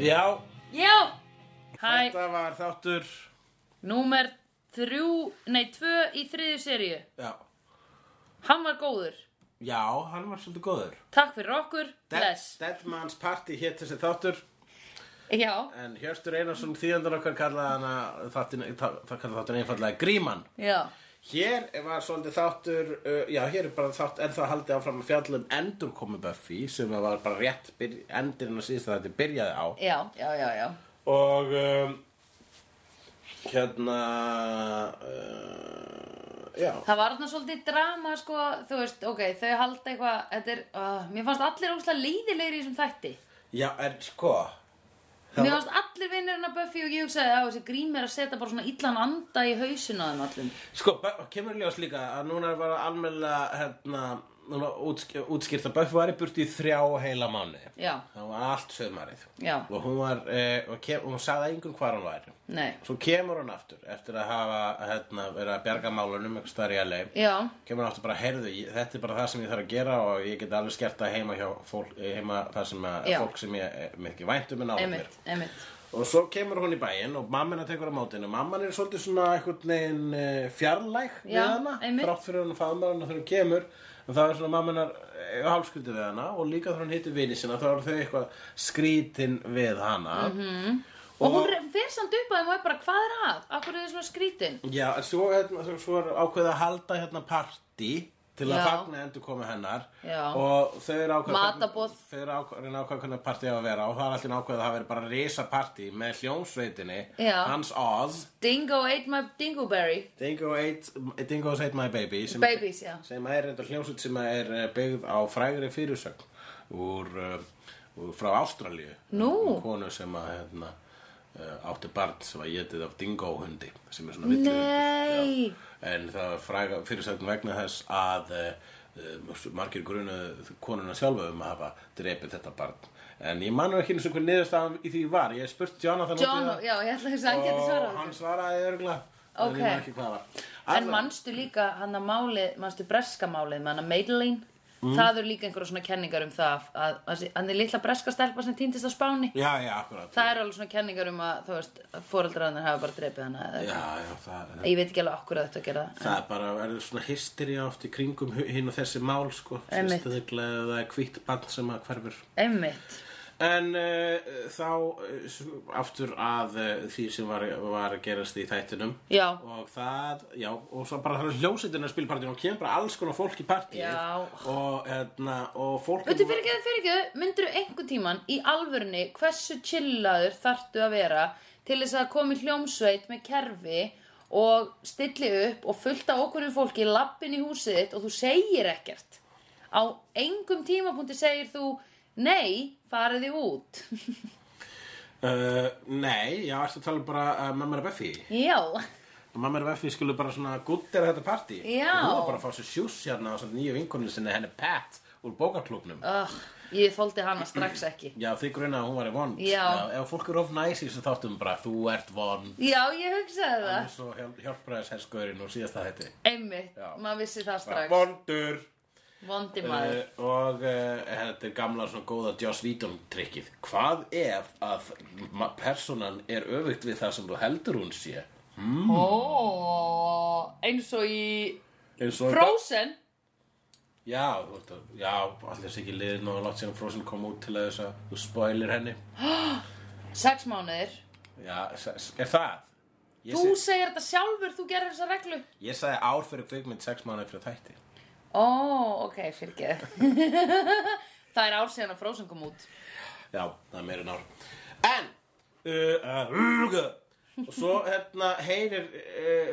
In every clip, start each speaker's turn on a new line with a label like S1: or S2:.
S1: Já,
S2: Já! Hæ,
S1: þetta var þáttur
S2: númer þrjú, nei, tvö í þriðju seríu.
S1: Já,
S2: Hann var góður.
S1: já hann var svolítið góður
S2: Takk fyrir okkur.
S1: Dead,
S2: Bless.
S1: Dead Man's Party hétt þessi þáttur
S2: Já,
S1: En Hjörstur Einarsson þýðandur okkar kallaði hana þáttin, það kallaði þáttin einfallega Gríman
S2: já,
S1: Hér var svolítið þáttur uh, Já, hér er bara þátt En það haldið áfram að fjalla um endurkomu Buffy Sem að var bara rétt byrj, endirinn að síðast að þetta byrjaði á
S2: já, já, já, já.
S1: Og um, Hérna uh, Já
S2: Það var þarna svolítið drama, sko, þú veist, ok, þau halda eitthvað, þetta er, uh, mér fannst allir óslega leiðilegir í þessum þætti.
S1: Já, en sko
S2: Mér fannst allir vinnirinn að Buffy og ég hugsaði að þessi grím er að setja bara svona illan anda í hausinu að þeim allum.
S1: Sko, Bu- kemur í ljós líka að núna er bara almennilega hérna, núna útsk útskýrt að Buffy var í burtu í þrjá heila mánuði.
S2: Já,
S1: Það var allt sömarið.
S2: Já.
S1: Og hún var, eh, og kem, hún sagði engum hvar hún væri.
S2: nei,
S1: Svo kemur hún aftur eftir að hafa, hérna, verið að berga málunum einhvers staðar í LA.
S2: já,
S1: Kemur hún aftur bara, heyrðu, ég- þetta er bara það sem ég þarf að gera og ég get alveg skert það heima hjá fólk, eh, heima það sem að
S2: Já.
S1: fólk sem ég, eh, mér ekki væntum en áður mér.
S2: einmitt, einmitt.
S1: Og svo kemur hún í bæinn og mamma tekur á mótinu. Mamman er svolítið svona einhvern veginn eh, fjarlæg við
S2: Já,
S1: hana.
S2: einmitt.
S1: Þrátt fyrir hún faðmar hana þegar hún kemur. En það er svona mammanar hálfskuldið við hana og líka þegar hún hittir vini sína þá eru þau eitthvað skrítin við hana. -hmm.
S2: Mhm. Og, hún re- fer samt upp að þeim og er bara, hvað er að? Akkur er þið svona skrítin?
S1: Já, en svo, hérna, svo, svo er ákveðið að halda hérna partí til að
S2: Já.
S1: fagna endur komu hennar
S2: Já.
S1: og þau eru ákveðið
S2: Matarboð.
S1: þau eru ákveðið ákveð hvernig partí á að vera og það er allir ákveðið að það veri bara risa partí með hljómsveitinni
S2: Já.
S1: hans Oz
S2: Dingo ate my dingleberry.
S1: Dingo ate, Dingo's ate my baby sem,
S2: Babies, já.
S1: sem er þetta hljómsveit sem er eh, byggð á frægri fyrirsögn úr, uh, úr frá Ástralíu
S2: Nú.
S1: Um konu sem að hérna, uh, átti barn sem var getið af Dingo hundi sem er svona
S2: Nei.
S1: Já. en það var fræga fyrirsögn vegna þess að uh, margir grunuð konuna sjálfa um að hafa drepið þetta barn en ég manur ekki eins og hver niðurstaðan í því var ég hef spurt Jonathan út í
S2: John,
S1: það
S2: já, ég ætla þess að hann geti
S1: og
S2: svarað.
S1: hann svaraði örgulega
S2: Ok.
S1: en ég man ekki hvað það var
S2: En
S1: Alla-
S2: manstu líka hann að málið, manstu breska málið með hann að Madeline?
S1: Mm.
S2: Það eru líka einhverja svona kenningar um það að, að, að þið litla breska stelpa sem týndist á Spáni.
S1: Já, já, akkurat
S2: Það eru alveg svona kenningar um að, þú veist, fóreldrarnir hafa bara drepið hana. eða eitthvað.
S1: Já, já, það
S2: Ég veit ekki alveg okkur að þetta gera það.
S1: Það er bara að verður svona hysteri oft í kringum hu- hin og þessi mál sko
S2: Einmitt.
S1: Sérstaklega ef það er hvítt band sem að hverfur
S2: Einmitt.
S1: En uh, þá uh, sm- aftur að uh, því sem var, var að gerast í þættinum
S2: Já.
S1: Og það, já, og svo bara það er hljósetina spilpartin og kemur bara alls konar fólk í partíð
S2: Já.
S1: Og, hérna, og fólk
S2: Þú fyrir ekki, fyrir ekki, myndirðu einhver tíman í alvörni hversu chillaður þartu að vera til þess að koma í hljómsveit með kerfi og stilli upp og fullta okkur um fólki lappin í húsið þitt og þú segir ekkert. Á engum tímapunkti segir þú, nei, farið þið út.
S1: uh, Nei, já, ertu að tala um bara uh, mamma er Buffy
S2: Já,
S1: Mamma er veffi skulle bara svona guttera þetta partí Og
S2: Já.
S1: Hún var bara að fá sér sjúss hérna á svona nýju vinkoninu sinni henni Pat úr bókarklubnum
S2: uh, ég þóldi hana strax ekki.
S1: Já, þið gruna að hún var í vond
S2: Já.
S1: Ef fólk er of næs í þessu þáttum bara þú ert vond
S2: Já, ég hugsaði það.
S1: Svo hjálpræðis herskaurin og síðast það þetta
S2: Einmitt,
S1: Já.
S2: maður vissi það strax.
S1: Vondur
S2: Vondi maður.
S1: Uh, og uh, þetta er gamla svona góða Joss Whedon trikkið hvað ef að ma- personan er öfugt við það sem þú heldur hún sé
S2: Ó, eins og í
S1: eins og
S2: Frozen.
S1: Já, þú veist að, já, allir sé ekki liðið nóg látt síðan Frozen kom út til að þess að þú spoilir henni.
S2: Sex mánuðir
S1: Já, s- s- er það? Ég,
S2: Þú
S1: seg,
S2: segir þetta sjálfur, þú gerir þessa reglu
S1: ég sagði ár fyrir kvikmynd sex mánuði fyrir þætti.
S2: Ó, ok, fyrir Það er ár síðan að Frozen kom út
S1: Já, það er meira en ár. En, uh, uh, uh, og svo hérna heyrir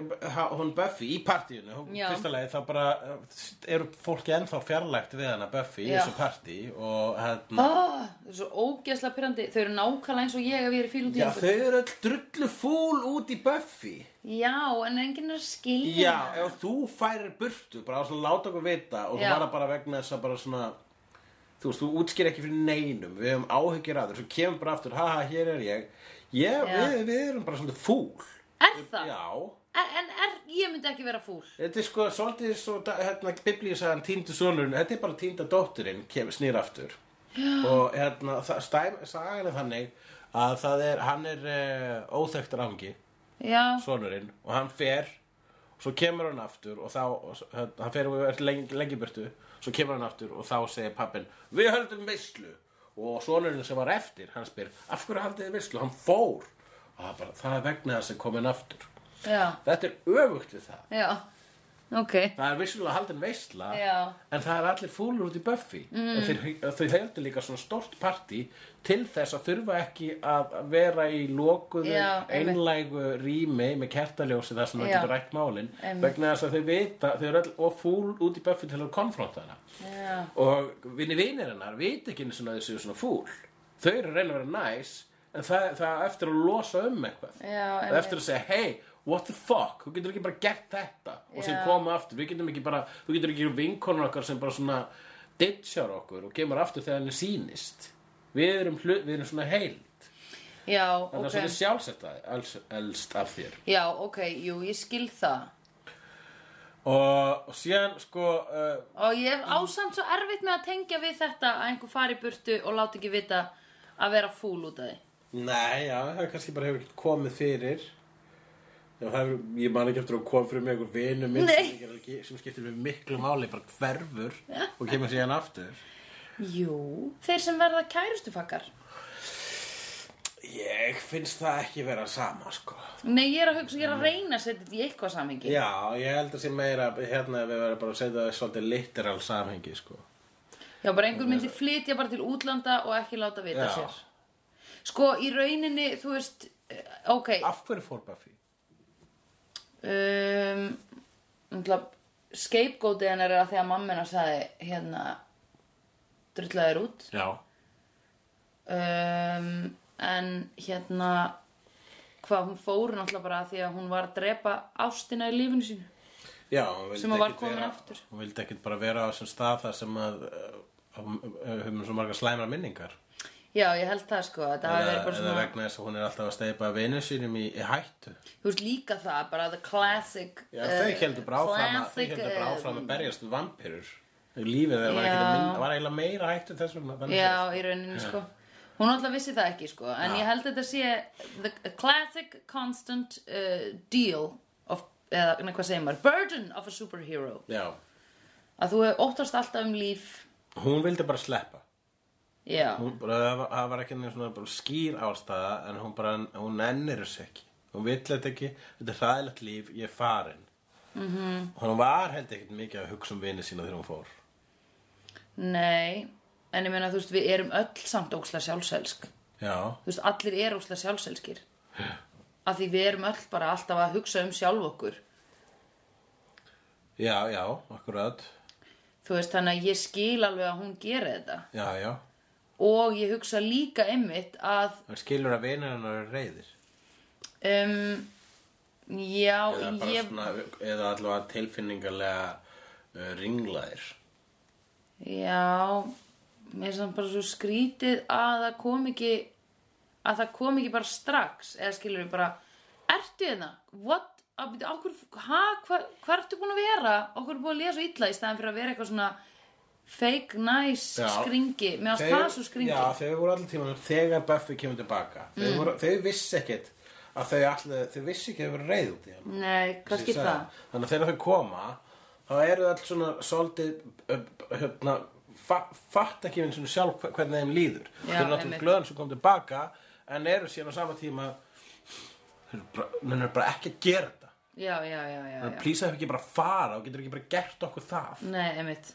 S1: uh, ha- hún Buffy í partíinu. Hún,
S2: Já.
S1: fyrsta lagi þá bara uh, eru fólki ennþá fjarlægt við hana Buffy í
S2: Já.
S1: þessu partí og hérna...
S2: oh, Það er svo ógeðslega pyrrandi Þau eru nákvæmlega eins og ég ef ég er í fíl út í
S1: Já,
S2: einhvern.
S1: þau eru öll drullu fúl út í Buffy.
S2: Já, en enginn er að skilja
S1: Já, ef þú færir burtu bara að svona láta okkur vita og þú
S2: Já.
S1: bara bara vegna þess að bara svona þú veist, þú útskýr ekki fyrir neinum við hefum áhyggjur að þér, svo kemur bara aftur haha, hér er ég ég, við, við erum bara svolítið fúl
S2: Er það?
S1: Já,
S2: Er, en er, ég myndi ekki vera fúl
S1: þetta er sko svolítið svo, da- hérna, biblíu sagðan týndu sonurinn, þetta er bara týnda dótturinn, kemur snýr aftur og hérna, það- stæm- sagan er þannig að það er, hann er uh, óþekktur áhengi,
S2: Já,
S1: sonurinn og hann fer, svo kemur hann aftur og þá, og s- hann fer og er lengi, lengi burtu, svo kemur hann aftur og þá segir pappin, við höldum veislu og sonurinn sem var eftir, hann spyr af hverju haldið þið veislu, hann fór og það, er bara, það er vegna þess að komin aftur
S2: já,
S1: þetta er öfugt við það
S2: já Ok,
S1: Það er vissulega haldin veisla
S2: Já.
S1: en það er allir fúlur út í Buffy mm. en þeir, þau heldur líka svona stórt partí til þess að þurfa ekki að vera í lokuðu
S2: Já, einmitt.
S1: einlægu rými með kertaljósi þar sem það
S2: Já.
S1: getur rætt málin
S2: Einmitt.
S1: vegna þess að þau vita þau eru all og fúl út í Buffy til að konfronta hana
S2: já,
S1: og vinni vinir hennar vita ekki einu svona þau séu svona fúl þau eru að reyna að vera næs en það, það á eftir að losa um eitthvað
S2: já
S1: og
S2: einmitt.
S1: eftir að segja, hey, what the fuck þú getur ekki bara gert þetta og sem
S2: Já.
S1: koma aftur, við getum ekki bara þú getur ekki vinkonur okkar sem bara svona ditchar okkur og kemur aftur þegar henni sýnist við erum, hlut, við erum svona heild
S2: Já,
S1: það
S2: ok
S1: er svona sjálfsett að- els- elst af þér
S2: Já, ok, jú, ég skil það
S1: og, og síðan sko uh,
S2: Og ég hef ásamt svo erfitt með að tengja við þetta að einhver fari í burtu og láti ekki vita að vera fúl út af því.
S1: Nei, já, það kannski bara hefur ekkert komið fyrir Já, það hefur, ég man ekki eftir að kom fyrir mig einhver vinu minn sem,
S2: Nei.
S1: ég er ekki- sem skiptir við miklu máli, bara hverfur og kemur síðan aftur
S2: Jú, þeir sem verða kærustufakkar.
S1: Ég finnst það ekki vera sama, sko.
S2: Nei, ég er að hugsa, ég er að reyna að setja þetta í eitthvað samhengi.
S1: Já, ég held að sé meira, hérna við verðum bara að setja það í svolítið literal samhengi, sko.
S2: Já, bara einhver myndi flytja bara til útlanda og ekki láta vita
S1: Já.
S2: sér. Sko, í rauninni, þú veist, eh, ok,
S1: Af hverju fór Buffy?
S2: um, umtla, scapegoatið hennar er að því að mammina sagði, hérna, drullaði þér út.
S1: Já.
S2: um, en hérna hvað hún fór náttúrulega bara af því að hún var að drepa ástina í lífinu sínu
S1: Já, hún vildi
S2: Sem hún var
S1: ekkit
S2: komin
S1: vera-
S2: aftur.
S1: Hún vildi ekkit bara vera á þessum stað þar sem að uh, uh, höfum svo margar slæmar minningar.
S2: já ég held það sko þetta hafi verið
S1: eða eða
S2: bara svona
S1: vegna þess að hún er alltaf að steipa vinu sínum í, í hættu.
S2: þú veist líka það bara the classic
S1: Já,
S2: eh,
S1: þau heldur bara áfram að, þau
S2: classic,
S1: heldur bara
S2: eh,
S1: áfram að berjast við vampirur. Lífið þeirra var,
S2: Já.
S1: ekkert að minna- var eiginlega meira hættu þess vegna. þannig
S2: já
S1: séð.
S2: í rauninni sko hún alltaf vissi það ekki sko en ég held þetta sé the classic constant uh, deal of eða nei, hvað segir maður burden of a superhero
S1: Já,
S2: að þú óttast alltaf um líf
S1: hún vildi bara sleppa.
S2: já
S1: Hún bara, það var- það var ekki neins svona bara skýr ástæða en hún bara, hún ennir þessu ekki hún vill þetta ekki, þetta er hræðilegt líf ég er farin mm
S2: Mhm.
S1: -hmm. hún var held ekkert mikið að hugsa um vini sína þegar hún fór
S2: Nei, en ég meina þú veist við erum öll samt óksla sjálfselsk Þú
S1: já,
S2: veist allir eru óksla sjálfselskir Af því við erum öll bara alltaf að hugsa um sjálf okkur
S1: já, já, akkurat
S2: Þú veist þannig að ég skil alveg að hún gera þetta
S1: já, já,
S2: Og ég hugsa líka einmitt að
S1: hann skilur að vinir hennar eru reyðir
S2: um, Já,
S1: eða bara
S2: ég
S1: svona, eða allavega tilfinningarlega uh, ringlaðir
S2: Já, mér er samt bara svo skrítið að það kom ekki að það kom ekki bara strax eða skilur við bara, ertu hérna? What? Á byrju, á hverju- Ha? Hva, hvað ertu búin að vera? Okkur er búin að lesa illa í staðan fyrir að vera eitthvað svona fake nice
S1: Já.
S2: skringi mér að
S1: Þeir-
S2: það svo skringi
S1: Já, þau voru allir tímanum þegar Buffy kemur tilbaka mm. þau, voru, þau vissi ekkert að þau allir, þau vissi ekki að þau voru reyð út í hann
S2: Nei, hvað
S1: Sem ég
S2: skil
S1: sagði.
S2: það?
S1: Þannig að þegar þau koma þá eru þau alls svona svolítið ö, hérna, fa fatt ekki einu sinni sjálf hve- hvernig þeim líður
S2: Já,
S1: þau eru
S2: einmitt.
S1: náttúrulega glöðan sem kom tilbaka en eru síðan á sama tíma þau eru bara, þau eru bara ekki að gera þetta
S2: Já, já, já, já,
S1: þannig að
S2: já.
S1: plýsa þau ekki bara að fara og getur ekki bara gert okkur það
S2: Nei, einmitt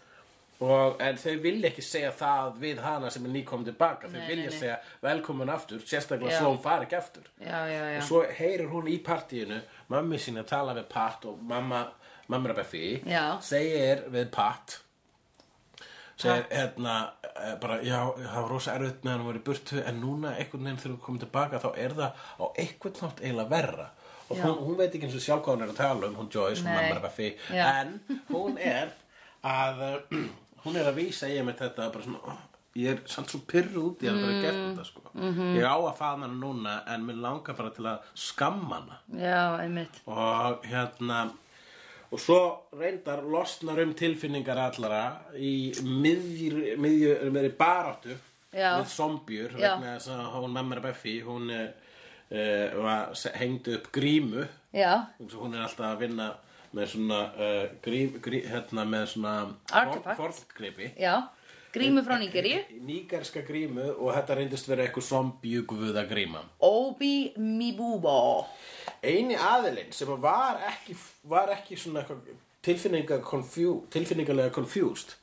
S1: og, en þau vilja ekki segja það við hana sem er nýkomin tilbaka þau
S2: Nei,
S1: vilja
S2: nei, nei.
S1: segja velkomin aftur sérstaklega
S2: Já.
S1: svo hún fari ekki aftur
S2: Já, já, já
S1: og svo heyrir hún í partíinu mammi sín að tala við Pat og mamma, mamma Buffy
S2: Já.
S1: segir við Pat segir hérna eh, bara já, það var rosa erfitt meðan hún var í burtu en núna einhvern veginn þegar hún komið tilbaka þá er það á einhvern þátt eiginlega verra og
S2: Já.
S1: hún, hún veit ekki eins og sjálf hvað hún er að tala um hún Joyce, hún
S2: Nei.
S1: mamma Buffy
S2: Já.
S1: en hún er að eh, hún er að vísa ég með þetta bara svona "Oh, ég er samt svo pyrru út í að vera gert
S2: Mm.
S1: þetta sko
S2: Mhm.
S1: -hmm. ég á að faða hana núna en mér langar bara til að skamma hana
S2: Já, einmitt
S1: og hérna og svo reyndar losnar um tilfinningar allara í miðjur, miðjur, miðjur baráttu
S2: Já.
S1: við zombjur
S2: Já.
S1: vegna þess að hún mamma er Buffy hún uh, var hengd upp grímu
S2: já,
S1: eins og hún er alltaf að vinna með svona uh, grím, grím, hérna með svona
S2: Artifacts.
S1: forngripi
S2: já Grímu frá Nigeríu
S1: nýgarska grímu og þetta reyndist vera eitthvað zombjugvöða gríma
S2: Obi Mibubo
S1: eini aðilinn sem var ekki, var ekki svona eitthvað tilfinninga confú- tilfinningalega confused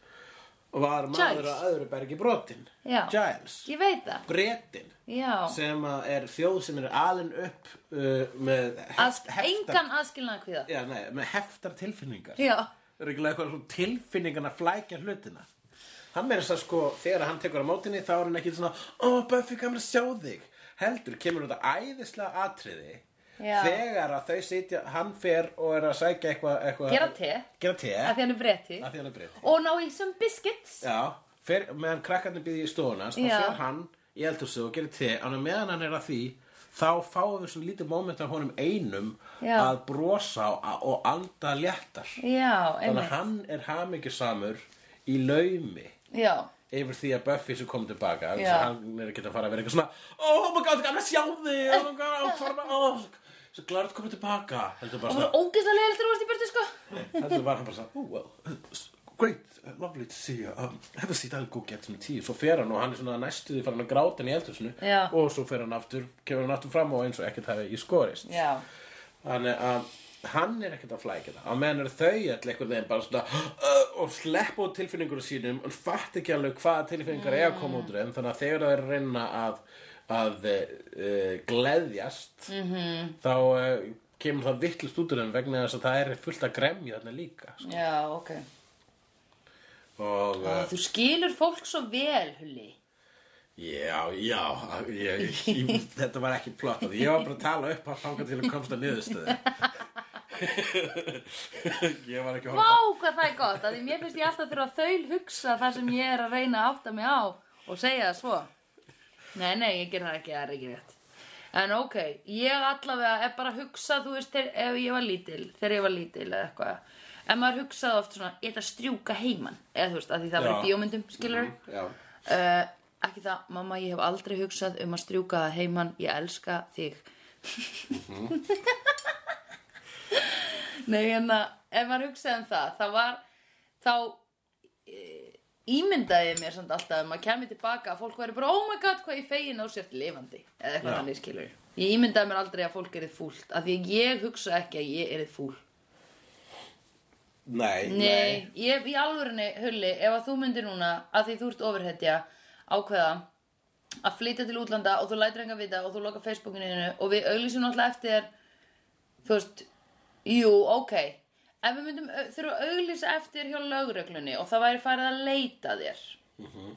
S1: var maður
S2: Giles.
S1: að öðru bergi brotin
S2: Já.
S1: Giles,
S2: Ég veit það
S1: bretin
S2: Já,
S1: sem að er þjóð sem er alin upp uh, með,
S2: As,
S1: heft, heftar,
S2: engan aðskilnaða kvíða
S1: já, nei, með heftar tilfinningar
S2: Já,
S1: Reglega eitthvað svona tilfinningan að flækja hlutina Hann meira þess að sko þegar hann tekur á mótinni þá er hann ekki svona Ó Buffy kamar að sjá þig Heldur kemur út að æðislega atriði
S2: Já.
S1: Þegar að þau sitja, hann fer og er að sækja eitthvað eitthva,
S2: Gera te.
S1: Gera te
S2: af því hann er bretti
S1: Af því hann er breytt
S2: Og ná í some biscuits
S1: Já, fer, meðan krakkarnir býði í stofuna Þá
S2: Já.
S1: fer hann í eldhúsu og gerir te En á meðan hann er að því Þá fáum við svona lítið moment af honum einum
S2: Já.
S1: Að brosa og- og anda léttar
S2: Já,
S1: Þannig að
S2: einmitt
S1: hann er hamingjusamur í laumi
S2: Já,
S1: yfir því að Buffy sem kom tilbaka
S2: Já.
S1: þannig að hann er ekki að fara að vera eitthvað svona oh my god, gamla sjá þig oh my god, oh, sorry, oh, svo glart komið tilbaka heldur bara
S2: það voru
S1: svona
S2: ógeðslega leiðilegt þegar þú varst í burtu sko
S1: heldur bara hann bara svona oh well, great, lovely to see you um, have a seat, I'll go get some tea svo fer hann og hann er svona næstuði farin að gráta hann í eldhúsinu
S2: Já.
S1: og svo fer hann aftur, kemur hann aftur fram og eins og ekkert hafi í skorist
S2: Já,
S1: Þannig að hann er ekkert að flækja það. Á meðan eru þau öll einhvern veginn bara svona uh, og sleppa út tilfinningur sínum og fatt ekki alveg hvaða tilfinningar mm. er að koma út úr þeim. Þannig að þegar það er að reyna að, að uh, gleðjast -hmm. þá uh, kemur það vittlust út úr þeim vegna þess að það er fullt að gremja þarna líka. sko.
S2: já, ok
S1: Og uh,
S2: Þú skilur fólk svo vel, Hulli
S1: já, já, ég, ég, þetta var ekki plottað. Ég var bara að tala upp að fanga til að komst að niðurstöðu. ég var ekki að horfa
S2: Vá, hvað það er gott, af því mér finnst ég alltaf þurfa að þaul hugsa það sem ég er að reyna að átta mig á og segja það svo. Nei, nei, ég ger það ekki, það er ekki rétt. En ok, ég allavega er bara að hugsa, þú veist, þegar, ef ég var lítil, þegar ég var lítil eða eitthvað. En maður hugsaði oft svona, ég ætla að strjúka heiman, eða þú veist, af því það var í
S1: Já.
S2: bíómyndum, skilur. Mm
S1: Já,
S2: ekki það, mamma, ég hef aldrei hugsað um að strjúka það heiman, ég elska þig. Nei, en að, ef maður hugsaði um það, þá var, þá e, ímyndaði ég mér samt alltaf um að maður kemur tilbaka að fólk væri bara, oh my god, hvað ég fegin á sér lifandi, eða
S1: Já.
S2: eitthvað þannig skilur. Ég ímyndaði mér aldrei að fólk erið fúlt, af því að ég hugsa ekki að ég erið fúl.
S1: nei,
S2: Nei, ég í alvörinni, Hulli, ef að þú myndir núna, að því þú ert ofurhetja, ákveða að flytja til útlanda og þú lætur enga vita og þú lokar Facebookinu þínu og við auglýsum náttúrulega eftir þér, þú veist, jú, ok. Ef við myndum au- þurfa að auglýsa eftir þér hjá lögreglunni og það væri farið að leita þér,
S1: Mhm.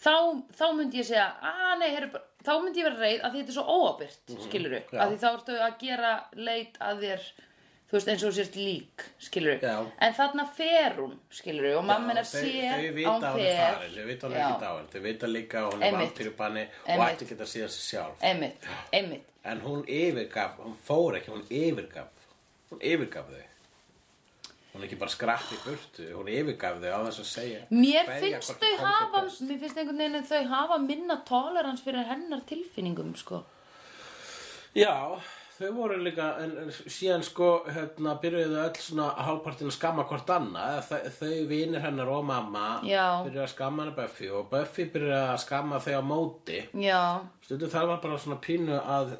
S2: þá, þá myndi ég segja, að nei, heru, þá myndi ég vera reið að því þetta er svo óabyrt, mm
S1: Mhm. já.
S2: að því þá ertu að gera leit að þér, þú veist, eins og þú sért lík, skilur
S1: Já.
S2: En þarna fer hún, skilur og mamma hennar
S1: Þau-
S2: sér
S1: Þau vita að hún er farin, þau vita að hún er
S2: Já.
S1: ekki dáin Þau vita líka að hún er
S2: Einmitt.
S1: vampírubanni og
S2: Einmitt.
S1: ætti ekki að síðan sig sjálf
S2: Einmitt, einmitt.
S1: En hún yfirgaf, hún fór ekki, hún yfirgaf Hún yfirgaf þau Hún ekki bara skrapp í burtu, hún yfirgaf þau á þess að segja
S2: Mér
S1: kveðja
S2: finnst
S1: hvorki kom
S2: þau
S1: til
S2: hafa,
S1: best.
S2: mér finnst einhvern veginn að þau hafa minna tolerans fyrir hennar tilfinningum, sko.
S1: Já, þau voru líka, en, en síðan sko, hérna, byrjuðu þau öll svona hálfpartin að skamma hvort annað, þau, þau vinir hennar og mamma
S2: Já.
S1: byrjuðu að skamma hennar Buffy og Buffy byrjuðu að skamma þau á móti.
S2: Já,
S1: Stundum þarf að bara svona pínu að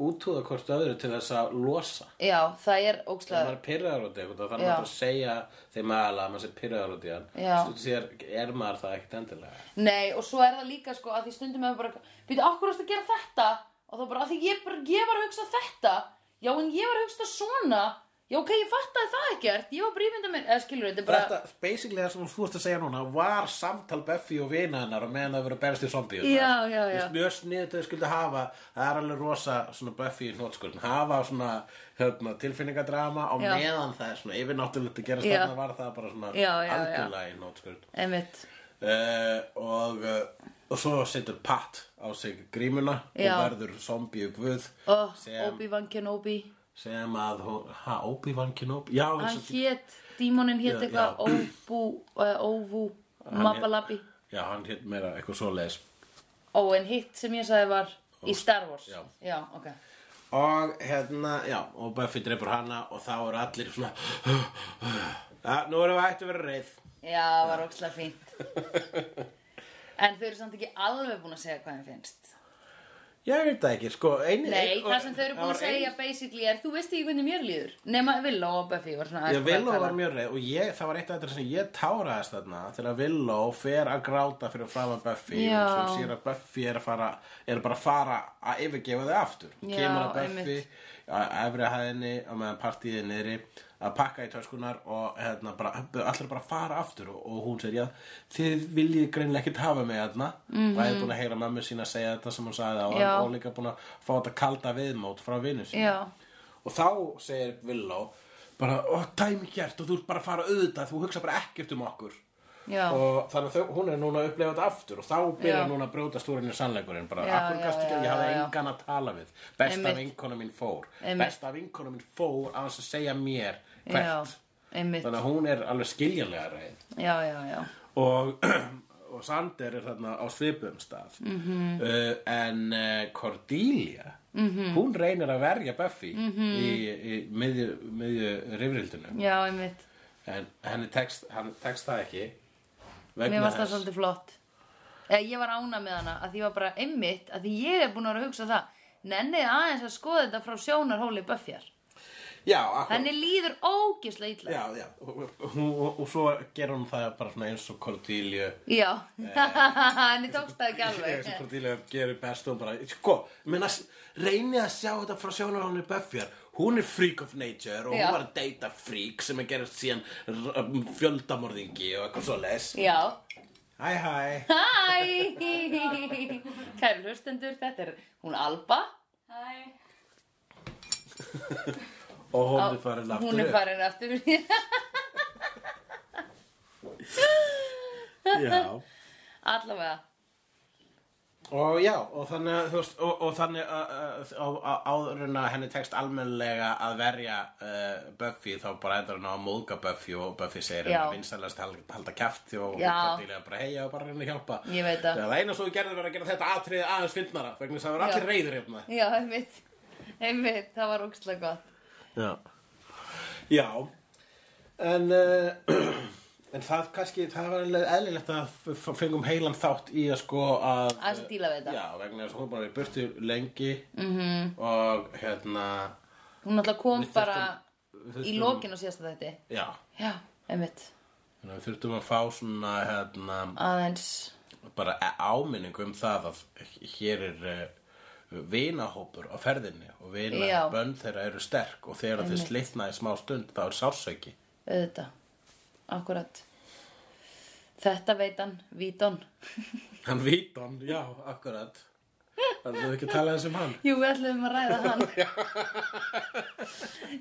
S1: útúða hvort öðru til þess að losa.
S2: já, það er
S1: Þegar
S2: ókslega,
S1: maður er pyrraður út í eitthvað, þá þarf
S2: Já.
S1: maður bara að segja þeim aðalega að maður sé pyrraður út í hann.
S2: Já.
S1: Stundum sér er maður það ekkert endilega.
S2: Nei, og svo er það líka, sko, að því stundum hefur bara, býtu, akkur ástu að gera þetta? Og þá bara, að því ég, bara, ég var að hugsa þetta, já, en ég var að hugsa svona, já, ok, ég fattaði það ekkert, ég var bara ímynda mér, eða skilur þetta er bara...
S1: Þetta, basically það sem þú ert að segja núna, var samtal Buffy og vina hennar og meðan það verið að berast í zombíu.
S2: Já, já, já.
S1: Mjög sniðið þau skuldu hafa, það er alveg rosa svona Buffy í hnótskurinn, hafa svona hérna, tilfinningadrama og
S2: Já.
S1: meðan það er svona yfirnáttúrulegt að gerast
S2: Já.
S1: þarna var það bara svona
S2: Já, já, já.
S1: algjörlega í hnótskurinn.
S2: Einmitt,
S1: Uh, og, uh, og svo setur Pat á sig grímuna
S2: Já.
S1: og verður zombíu guð
S2: oh,
S1: Sem-
S2: Obi-Wan Kenobi...
S1: sem að hún, ha, Obi-Wan Kenobi já,
S2: hann
S1: þessi-
S2: hét, eh, dímonin
S1: Já,
S2: hét eitthvað
S1: já.
S2: óbú, uh, óvú, mabalabi
S1: Já, hann hitt meira eitthvað svoleiðis
S2: Ó, en hitt sem ég sagði var í Star Wars
S1: Já.
S2: ok
S1: Og hérna, já, og Buffy dreipur hana og þá eru allir svona Já, nú erum við ætti að vera reið
S2: Já, var ókslega fínt En þau eru samt ekki alveg búin að segja hvað þeim finnst
S1: Ég veit það ekki, sko ein,
S2: Nei,
S1: ein-
S2: það sem þau eru
S1: það
S2: búin
S1: var
S2: að segja basically er Þú veist ekki hvernig mér líður Nema Villó og Buffy var svona
S1: ein,
S2: aðeins
S1: Ég
S2: búin að
S1: Villó
S2: tala.
S1: var mjög reið og ég, það var eitt af þetta sem ég táraðist þarna þegar Villó fer að gráta fyrir fram að Buffy
S2: Já.
S1: og svo sér að Buffy er að fara er bara að fara að yfirgefa þau aftur
S2: Já,
S1: kemur að Buffy
S2: einmitt.
S1: að efri hæðinni og meðan partíði niðri að pakka í töskunar og hérna bara, allir bara að fara aftur og, og hún segir, já, þið viljið greinlega ekkert hafa mig hérna mm -hmm. búin að heyra mömmu sína að segja þetta sem hún sagði á
S2: Mhm. Já.
S1: hann og líka búin að fá þetta kalda viðmót frá vinnu sína
S2: Já.
S1: og þá segir Villó bara, ó, dæmi gert og þú ert bara að fara auðvitað þú hugsa bara ekkert um okkur
S2: Já,
S1: og þannig að þau, hún er núna að upplefa þetta aftur og þá
S2: Já.
S1: byrjar núna að brjóta stúrinni sannleikurinn bara,
S2: Já,
S1: akkur
S2: já,
S1: gastu ekki,
S2: já,
S1: ég hafði
S2: já, já.
S1: engan að tala við besta
S2: Einmitt.
S1: vinkona mín fór
S2: Einmitt.
S1: besta vinkona mín fór að þess að segja mér
S2: já,
S1: hvert,
S2: einmitt
S1: þannig að hún er alveg skiljanlega reið
S2: Já, já, já
S1: og, og Sander er þarna á svipum stað
S2: Mhm.
S1: -hmm. uh, en uh, Cordelia
S2: Mhm.
S1: -hmm. hún reynir að verja Buffy -hmm. í, í miðju, miðju rifrildinu
S2: Já, einmitt
S1: en henni tekst, henni tekst það ekki
S2: Mér
S1: vegna
S2: varst það svolítið flott Eða ég var ána með hana að því ég var bara einmitt að því ég er búin að vera að hugsa um það Nennið aðeins að skoða þetta frá sjónarhóli Buffyar
S1: Já, akkur,
S2: Henni líður ógislega illa
S1: já, já. Og, og, og, og svo gerir hún það bara svona eins og Cordelia
S2: Já, henni tókst það ekki
S1: eins og
S2: alveg
S1: Cordelia gerir best og hún bara, sko, menna reynið að sjá þetta frá sjónar hún er Buffyar hún er freak of nature og
S2: Já.
S1: hún var að deyta freak sem er gerist síðan r- um, fjöldamorðingi og eitthvað svo les
S2: Já,
S1: Hæ, hæ
S2: hæ Kæru hlustendur, þetta er hún Alba
S3: Hæ,
S1: og hún er farin aftur
S2: Hún er
S1: upp.
S2: farin aftur
S1: Já.
S2: Allavega
S1: Og já, og þannig að, þú veist, og, og þannig uh, að, að, að, að áður en að henni tekst almennilega að verja uh, Buffy þá bara eitthvað hann á að móðga Buffy og Buffy segir
S2: Já.
S1: henni vinsælast halda, halda kæfti og
S2: Já.
S1: Cordelia bara heia og bara reyna að hjálpa.
S2: Ég veit það.
S1: Það eina svo þú gerðir var að gera þetta atriði aðeins fyndnara vegna þess að það var
S2: Já.
S1: allir reyður hérna.
S2: Já, einmitt Einmitt, það var ógislega gott
S1: Já. Já. En... Uh, En það kannski, það var alveg eðlilegt að f- f- fengum heilan þátt í að sko að...
S2: Aðeins að díla við þetta Mhm.
S1: Já, vegna þess að hún er bara er í burtu lengi -hmm. og hérna
S2: Hún náttúrulega kom
S1: Við
S2: bara
S1: þurftum- við
S2: í
S1: þurftum-
S2: lokin á síðasta þætti.
S1: Já,
S2: Já, einmitt.
S1: þannig að við þurftum að fá svona hérna,
S2: Aðeins.
S1: bara e- áminningu um það að hér er uh, vinahópur á ferðinni og
S2: Já.
S1: vinabönd þeirra eru sterk og þegar þau slitna í smá stund þá er sársauki
S2: Auðvitað. Akkurat. Þetta veit hann, Víton.
S1: Hann vítan, já, akkurat Þannig að við ekki tala þess um hann
S2: Jú, við ætlum að ræða hann.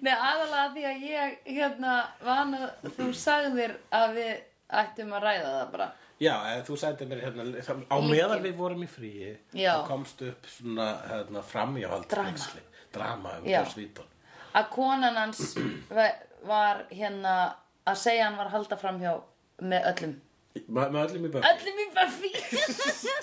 S2: Nei, aðalega því að ég, hérna, van að þú sagðir að við ættum að ræða það bara.
S1: Já, eða þú sendir mér hérna á meðan við vorum í fríi
S2: Já.
S1: þá komst upp svona hérna, framjáhald
S2: Drama.
S1: hneyksli. Drama um
S2: Já.
S1: Björns Vítan
S2: Að konan hans va- var, hérna, að segja hann var að halda framhjá með öllum.
S1: Með með öllum í börn
S2: Öllum í Buffy!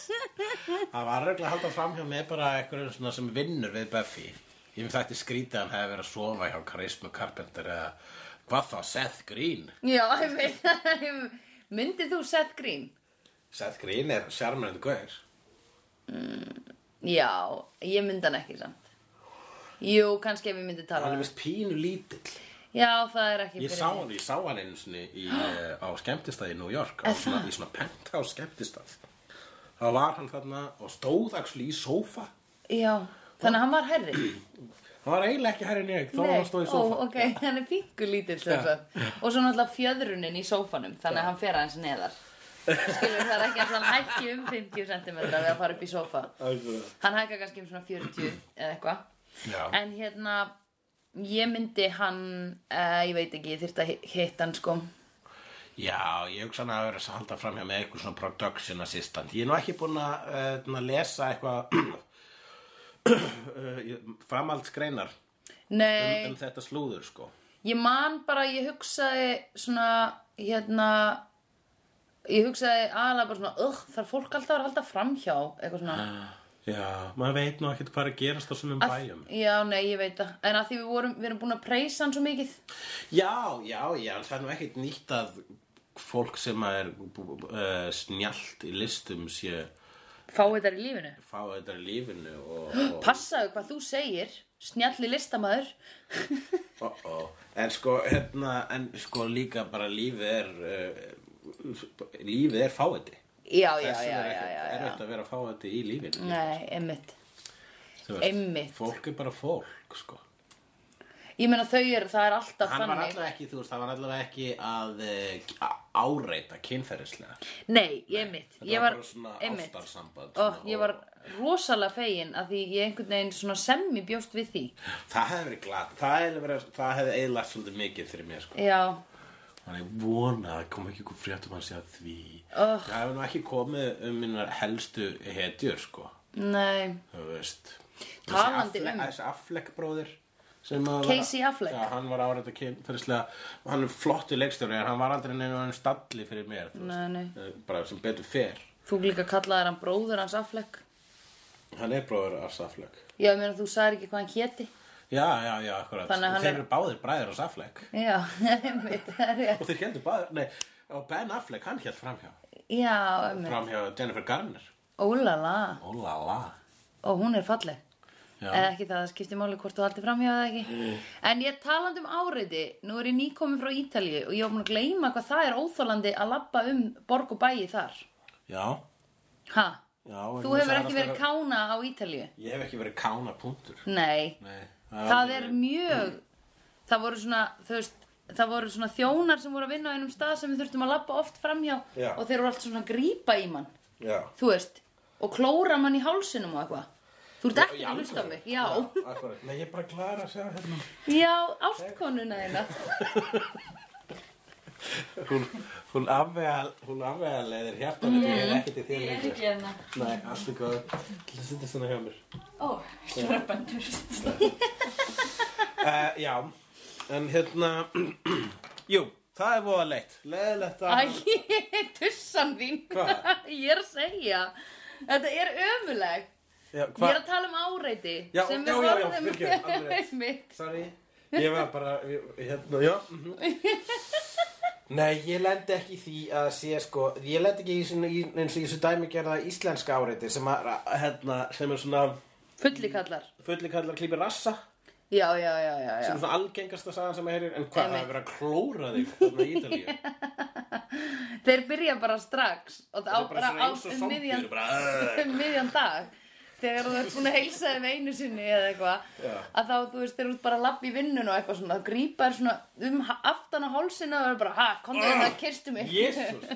S1: Það var regla að halda framhjá með bara einhverjum svona sem vinnur við Buffy Ég finn þætti skrítið að hann hefði verið að sofa hjá Charisma Carpenter eða hvað þá Seth Green
S2: Já, ég veit það. Myndið þú Seth Green?
S1: Seth Green er sjarmöndu guður
S2: Já, ég myndi hann ekki samt. Jú, kannski ef ég myndi tala.
S1: Hann er
S2: Hann.
S1: vist pínu lítill
S2: Já, það er ekki
S1: Ég sá hann, ég sá hann einu sinni í, eh, á skemmtistað í New York á svona, í svona penthouse skemmtistað þá var hann þarna og stóð axli í sófa
S2: Já, þannig að hann var herri.
S1: hann var eiginlega ekki herri njög þá var hann stóð í sófa
S2: Ó, ok, hann er pingu lítill sem sagt. Og svo náttúrulega fjöðrunin í sófanum, þannig að hann fer aðeins neðar. Skilur, það er ekki að hann hækki um 50 cm við að fara upp í sófa.
S1: Algjörlega.
S2: Hann hækkar kannski um svona 40 eða eitthvað.
S1: Já.
S2: En hérna, ég myndi hann, uh, ég veit ekki, ég þyrfti að hi- hitta hann sko.
S1: Já, ég hugsa hann að vera að halda framhjá með eitthvað svona production assistant. Ég er nú ekki búin að uh, lesa eitthvað uh, framhaldsgreinar
S2: Nei.
S1: um, um þetta slúður, sko.
S2: Ég man bara, ég hugsaði svona, hérna, ég hugsaði aðalega bara svona "Ugh, þarf fólk alltaf að halda framhjá eitthvað svona
S1: Já, Ah. maður veit nú ekkert hvað er að gerast á svona
S2: Að-
S1: bæjum.
S2: já, nei, ég veit það en að því við, vorum, við erum búin að preysa hann svo mikið
S1: Já, já, já, en það er nú ekkert nýtt að fólk sem að er uh, snjalt í listum sé
S2: fá þetta í lífinu
S1: fá þetta í lífinu og, og
S2: passaðu hvað þú segir, snjalli listamaður
S1: oh, oh. en sko, hérna, en sko líka bara lífið er uh, lífið er fáiði.
S2: já, já,
S1: Þess
S2: já,
S1: vegna er
S2: já, já,
S1: ekkert
S2: já.
S1: erfitt að vera fáiði í lífinu.
S2: nei, einmitt
S1: Þú veist,
S2: Einmitt.
S1: Fólk er bara fólk, sko.
S2: ég meina þau eru, það er alltaf
S1: Hann var
S2: þannig
S1: allavega ekki, þú veist, hann var allavega ekki að uh, áreita kynferðislega.
S2: nei, einmitt
S1: Þetta
S2: ég var,
S1: bara svona
S2: einmitt
S1: ástarsamband.
S2: og
S1: svona,
S2: ég var rosalega fegin að því ég einhvern veginn svona semmi bjóst við því
S1: Það hefði verið glatt, það hefði, verið, það hefði eiginlega svolítið mikið fyrir mér sko.
S2: já,
S1: Þannig ég vona að kom ekki ykkur fréttum hans að því
S2: Ugh.
S1: Það hefði nú ekki komið um minnar helstu hetjur sko,
S2: nei
S1: þú veist
S2: Talandi
S1: Þessi Affle-
S2: um-
S1: Þessi Affleck bróðir sem að var-
S2: Casey Affleck.
S1: Já, hann var árið að kynferðislega Hann er flottu leikstjóri en hann var aldrei neina hann stalli fyrir mér þú
S2: Nei, nei.
S1: Eh, Bara sem betur fer
S2: Þú líka kallaðir hann bróður hans Affleck.
S1: Hann er bróður Ars Affleck
S2: Já, ég meina þú sagðir ekki hvað hann héti.
S1: Já, já, já, akkurat
S2: Þannig að hann
S1: Þeir
S2: er-
S1: eru báðir bræður Ars Affleck
S2: Já, einmitt, það er rétt.
S1: Og þeir heldur báðir, nei Og Ben Affleck, hann held framhjá
S2: Já, einmitt.
S1: fram hjá Jennifer Garner
S2: Ólala,
S1: Ólala
S2: og hún er falleg.
S1: Já.
S2: Eða ekki það, það skiptir máli hvort þú haldir framhjá eða ekki. En ég talandi um áriði, nú er ég nýkomin frá Ítalíu og ég var búin að gleyma hvað það er óþólandi að labba um borg og bæi þar.
S1: Já,
S2: Ha?
S1: já
S2: Þú hefur ekki
S1: sko.
S2: verið kána á Ítalíu?
S1: Ég hef ekki verið kána punktur
S2: Nei.
S1: Nei,
S2: það er mjög það voru svona þú veist það voru svona þjónar sem voru að vinna á einum stað sem við þurftum að labba oft framhjá
S1: Já.
S2: og þeir voru alltaf svona að grípa í mann
S1: Já
S2: þú veist, og klóra mann í hálsinum og eitthvað þú ert
S1: Í
S2: ekki að hlusta á
S1: alvöru?
S2: mig já,
S1: akkurat. Nei, ég er bara glæður að sjá hérna
S2: já, ástkonuna þeirna
S1: Hún, hún afvega, hún afvega leiðir hjartan mm. Ég er ekki til þér
S3: Ég er
S1: lengur
S3: ekki hérna.
S1: Nei, allt er góð Það sittir svona hjá mér
S3: Ó, ég var bændur.
S1: uh, Já, en hérna Jú, það er voða leitt Leðilegt að
S2: æ, tussan þín
S1: Hvað?
S2: ég er að segja þetta er ömuleg
S1: Já,
S2: ég er
S1: hvað?
S2: að tala um áreiti
S1: Já,
S2: sem
S1: já, já,
S2: við
S1: já,
S2: horfðum
S1: fyrirgefðu, alveg rétt.
S2: einmitt.
S1: Sorry, ég var bara, ég- hérna, já mhm. Nei, ég lendi ekki í því að sé sko, ég lendi ekki í svona, í- eins og ég svo dæmi gerða íslenska áreiti sem, að, hérna, sem er svona
S2: fullikallar
S1: fulli kallar klípi rassa
S2: já, já, já, já, já.
S1: sem er svona algengasta sagan sem að heyrir en hvað,
S2: Einmitt.
S1: það er verið að klóra þig þarna í Ítalíu
S2: Þeir byrja bara strax og það á
S1: Það er bara
S2: bara
S1: svona
S2: á
S1: eins og
S2: um
S1: zombie,
S2: miðjan,
S1: þú bara "Ugh."
S2: um miðjan dag þegar þú ert búin að heilsa þeim einu sinni eða eitthvað
S1: Já.
S2: að þá þú veist þeir út bara að labba í vinnun og eitthvað svona þá grípa þér svona um ha- aftan á hálsina og er bara ha, kom þér
S1: Ah,
S2: þetta, kirstu mig
S1: Jésús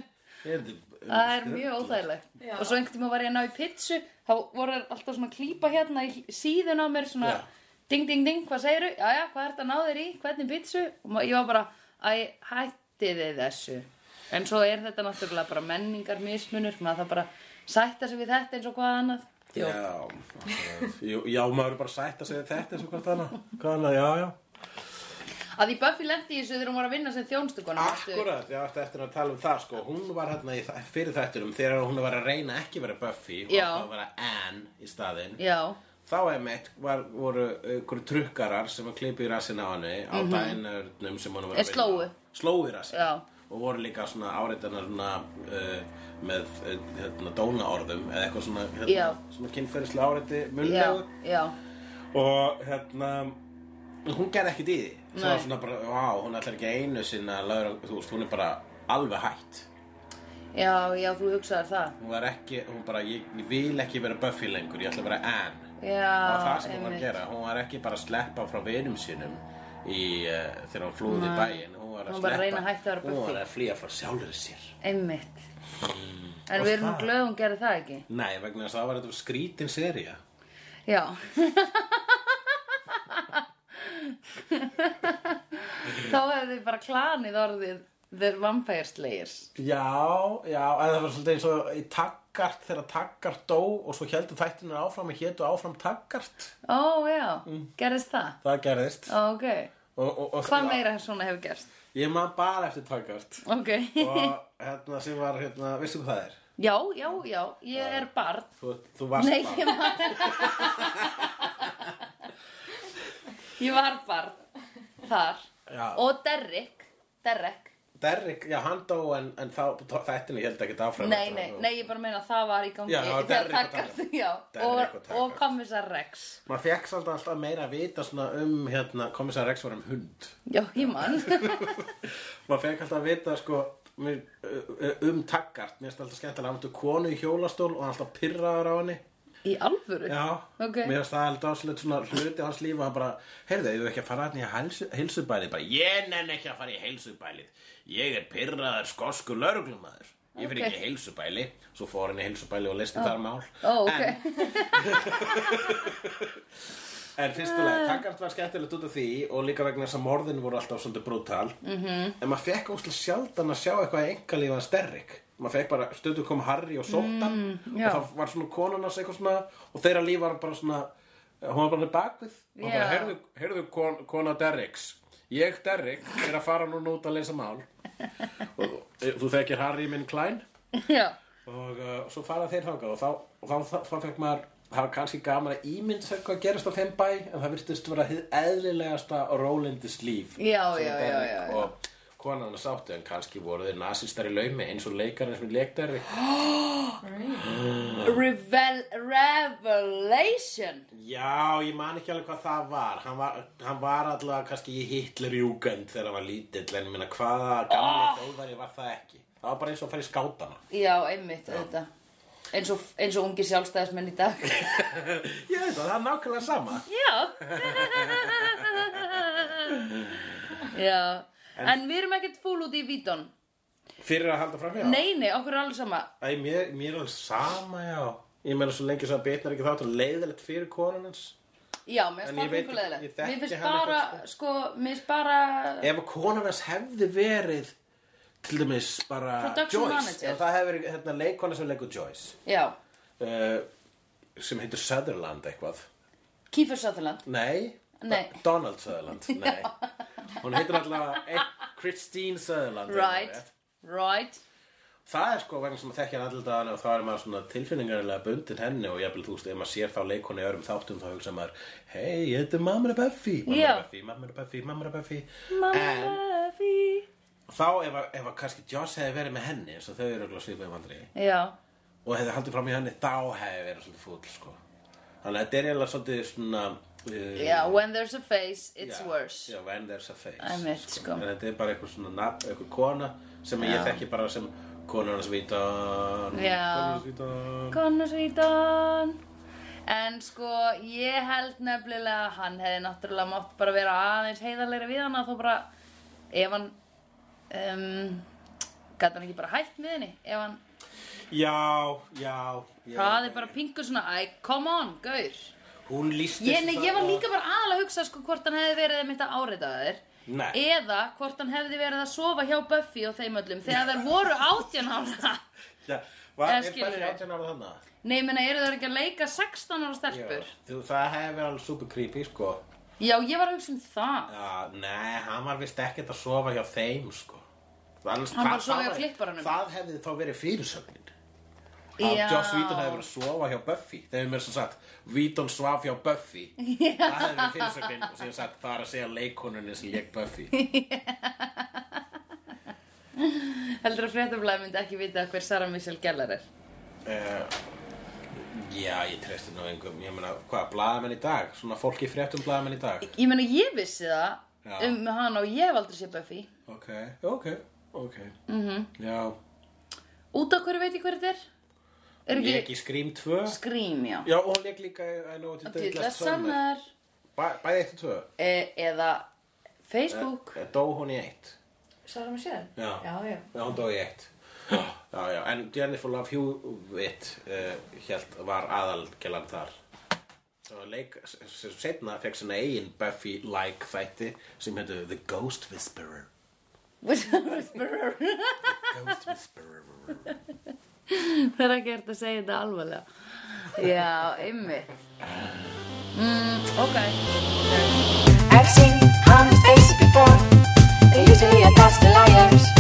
S1: Þetta
S2: það er mjög óþægilegt
S3: Já.
S2: og svo einhvern tíma var ég að ná í pitsu þá voru þeir alltaf svona að klípa hérna í síðun á mér svona
S1: Já.
S2: ding ding ding, hvað segiru, já já, hvað ert að ná þér í hvernig pitsu, og ma- ég var bara æ, hætti þið þessu en svo er þetta náttúrulega bara menningar mismunur, maður það bara sætta sig við þetta eins og hvað annað
S1: Já, akkurat. Jú, já, maður er bara sætt að segja þetta eins og hvað þarna Hvað annað, já, já
S2: að því Buffy lendi í þessu þegar hún var að vinna sem þjónstukona
S1: Akkurat, já, eftir eftir að tala um það sko Hún var hérna í þa- fyrir þættunum Þegar hún var að reyna ekki að vera Buffy Og
S2: Já.
S1: ákvað að vera Anne í staðinn
S2: já,
S1: Þá emitt var, voru ykkur trukkarar Sem að klippa í rassin á henni Á mm bænurnum sem hún var
S2: En
S1: að
S2: Mhm. slógu.
S1: Slóu í rassin
S2: Já.
S1: Og voru líka svona áreitana svona uh, Með uh, hérna, dónaorðum Eða eitthvað svona, hérna,
S2: Já.
S1: svona kynferðislega áreiti
S2: já,
S1: Munnlegu
S2: já
S1: og hérna hún gerði ekkert í því sem
S2: Nei.
S1: var svona bara, vá, hún ætlar ekki einu sinna lögur, þú veist, hún er bara alveg hætt
S2: já, já, þú hugsaðar það
S1: hún var ekki, hún bara, ég, ég vil ekki vera Buffy lengur, ég ætla að vera Anne
S2: já,
S1: það var það sem hún var
S2: einmitt.
S1: að gera, hún var ekki bara að sleppa frá vinum sínum í, uh, þegar hún flúði í bæinn hún var að
S2: Hún var
S1: sleppa,
S2: bara að reyna að hætta að vera
S1: hún
S2: Buffy.
S1: var að flýja frá sjálfur sér
S2: Einmitt. En
S1: Mm. Og
S2: við erum nú
S1: það-
S2: glöð hún gerði það ekki.
S1: nei, vegna þess að það var þetta skrítin seria
S2: Já. Þá hefði bara klanið orðið The Vampire Slayers.
S1: Já, já, en það var svolítið eins og í taggart þegar taggart dó og svo heldur þættinu áfram og hétu áfram taggart. Mm.
S2: Ó, já. Gerðist það?
S1: Það gerðist.
S2: Ó, ok.
S1: Og, og, og,
S2: Hvað meira svona hefur gerst?
S1: Ég maður bara eftir taggart
S2: Ok.
S1: Og hérna sem var, hérna, veistu hvað það er?
S2: Já, já, já, ég er barn.
S1: Þú, þú varst
S2: Nei,
S1: bara
S2: ég var... ég var barn þar.
S1: Já.
S2: Og Derrick, Derrick.
S1: Derrick, já, hann dó en, en þá, þættinu held ekki áfram
S2: Nei, nei, nei, ég bara meina að það var í gangi
S1: Já, það var
S2: þegar
S1: Derrick og
S2: Taggart-
S1: Taggart.
S2: Já,
S1: Derrick og
S2: og,
S1: Taggart.
S2: og Commissar Rex
S1: Maður fekk svolítið alltaf meira að vita svona um, hérna, komissar Rex var um hund
S2: Já, ég man
S1: Maður fekk alltaf að vita, sko, mér- uh, uh, um taggart Mér finnst alltaf skemmtilega, hann áttu konu í hjólastól og hann alltaf pirraður á henni
S2: Í alvöru
S1: Já,
S2: Ok.
S1: mér finnst það alltaf dásilegt svona hluti á hans líf og hann bara Heyrðu, eigum við ekki að fara hann í helsu- heilsubælið Bara, ég nenn ekki að fara í heilsubælið Ég er pirraður skosku lörglumæður Ég fyrir
S2: Ok.
S1: ekki í heilsubæli Svo fór hann í heilsubæli og listi þar mál
S2: Ó, ok.
S1: En En fyrstulega,
S2: Ah.
S1: takkart var skemmtilegt út af því og líka vegna þess að morðin voru alltaf svolítið brútal
S2: Mhm.
S1: -hmm. en maður fekk óslega sjaldan að sjá eitthvað engalíf hans Derrick maður fekk bara, stundu kom Harry og sóttan mm,
S2: já.
S1: og það var svona konan hans eitthvað svona og þeirra líf var bara svona hún var bara með bakvið og yeah. bara,
S2: Já.
S1: heyrðu, heyrðu kon, kona Derricks ég Derrick er að fara núna út að lesa mál og þú- þú þekkir Harry minn Klein
S2: Já,
S1: og uh, svo fara þeir þangað og þá, og þá, þá, þá fekk maður það var kannski gaman að ímynda sér hvað gerist á þeim bæ en það virtist vera hið eðlilegasta og rólindis líf
S2: Já,
S1: sem
S2: já,
S1: Derrick
S2: já, já, já.
S1: og konan að sáttu en kannski voru þeir nasistar í laumi eins og leikarinn sem leikdari
S2: Revel Revelation
S1: já, ég man ekki alveg hvað það var hann var, hann var allavega kannski í Hitlerjúkend þegar hann var lítill en ég meina hvaða
S2: Ah.
S1: gamli oh. þjóðari var það ekki það var bara eins og að fara í skátana
S2: Já, einmitt, auðvitað eins og, eins og ungi sjálfstæðismenn í dag
S1: ég veit það, það er nákvæmlega sama
S2: Já Já En, við erum ekkert fúl út í vítón
S1: fyrir að halda fram hjá
S2: Nei, nei, okkur er alveg sama
S1: Æ, mér, mér er alveg sama, já. Ég meina svo lengi svo að bitnar ekki þáttur leiðilegt fyrir konan hans.
S2: Já, mér
S1: En
S2: finnst
S1: ég veit ekki- ég
S2: bara mjög leðilegt
S1: þekki
S2: Mér finnst
S1: hann
S2: bara,
S1: eitthvað,
S2: sko, mér finnst bara
S1: Ef að konan hans hefði verið, til dæmis, bara
S2: Production
S1: Joyce.
S2: manager.
S1: Ef það hefði verið hérna, leikona sem leikur Joyce,
S2: Já,
S1: uh, sem heitir Sutherland eitthvað.
S2: Kiefer Sutherland
S1: Nei.
S2: Nei.
S1: Do- Donald Sutherland, nei. Hún heitir allavega eh, Christine Sutherland.
S2: Right,
S1: eitthvað, rétt.
S2: right
S1: Það er sko vegna sem að þekkja hann allir dagana og þá er maður svona tilfinningarilega bundin henni og jafnvel þú veist, ef maður sér þá leikonu í örum þáttum þá hugsa maður, hei, ég heiti Mamma Buffy, Mamma
S2: Já.
S1: Buffy, Mamma Buffy, Mamma Buffy en
S2: Muffy
S1: þá ef að, ef að kannski Joss hefði verið með henni eins og þau eru örugglega svipaði vandri
S2: Já,
S1: og hefði haldið fram í henni, þá hefði verið svolítið fúll, sko þannig að þetta er eiginlega svolítið svona uh,
S2: já, when there's a face, it's
S1: já,
S2: worse
S1: Já, when there's a face
S2: Einmitt, sko.
S1: En þetta er bara eitthvað svona nafn, eitthvað kona sem ég þekki bara sem konarnas vítan
S2: Já.
S1: Konarnas vítan
S2: Connors Vítan En sko, ég held nefnilega að hann hefði náttúrulega mátt bara vera aðeins heiðarleira við hann að þó bara ef hann um, gæti hann ekki bara hætt með henni ef hann
S1: Já, já, já
S2: hraði bara pingu svona æ, come on, gaur
S1: Hún lístist
S2: Ég, nei, ég var líka bara aðalega að hugsa sko hvort hann hefði verið einmitt að áreita þér
S1: Nei.
S2: Eða hvort hann hefði verið að sofa hjá Buffy og þeim öllum Þegar þær voru átján ára
S1: Já, var,
S2: Eða
S1: er
S2: skilurðu?
S1: Buffy 18 ára þannig?
S2: Nei, ég meina, eru þær ekki að leika 16 ára stelpur?
S1: Þú, það hefði verið alveg super creepy, sko
S2: Já, ég var að hugsa um það
S1: Já, nei, hann var vist ekkert að sofa hjá þeim, sko Annars,
S2: Hann var
S1: það-
S2: að sofa
S1: það
S2: hjá
S1: væri-
S2: flipparanum.
S1: Það hefði þá verið fyrirsögnin Að
S2: Já.
S1: Joss Whedon hefði verið að sofa hjá Buffy Þegar mér sem sagt, Whedon svaf hjá Buffy Já. Það hefði verið fyrirsögnin og síðan sagt, það er að segja leikonunni sem leik Buffy
S2: Heldur að fréttablaði myndi ekki vita hver Sarah Michelle Gellar er
S1: Eh, Já, ég treysti nú engum, ég meina, hvað, blaðamenn í dag? Svona fólki fréttum blaðamenn í dag?
S2: Ég meina, ég vissi það
S1: Já.
S2: um hana og ég hef aldrei séð Buffy
S1: Ok, ok, ok mm -hmm. Já,
S2: Út af hverju veit ég hver þetta er? Er
S1: hún
S2: ekki
S1: leik í Scream 2
S2: Scream, já
S1: Já, og hún leik líka í I know what you did
S2: Dilla
S1: last summer
S2: Summer
S1: Bæ, Bæði eitt og tvö
S2: e Eða Facebook
S1: Eh, Dó hún í eitt
S3: Sarah Michelle?
S1: Já.
S3: Já, já.
S1: Já, hún dó í eitt Já, já, en Jennifer Love Hewitt uh, hélt, var aðalgjalan þar Svo leik, sem setna fekk sinna eigin Buffy-like þætti sem heitu The Ghost Whisperer
S2: Whisperer
S1: Ghost Whisperer
S2: Það er ekki hægt að segja þetta alvarlega Já, ymmi mm, Ok
S4: I've seen honest faces before. Usually a past liars.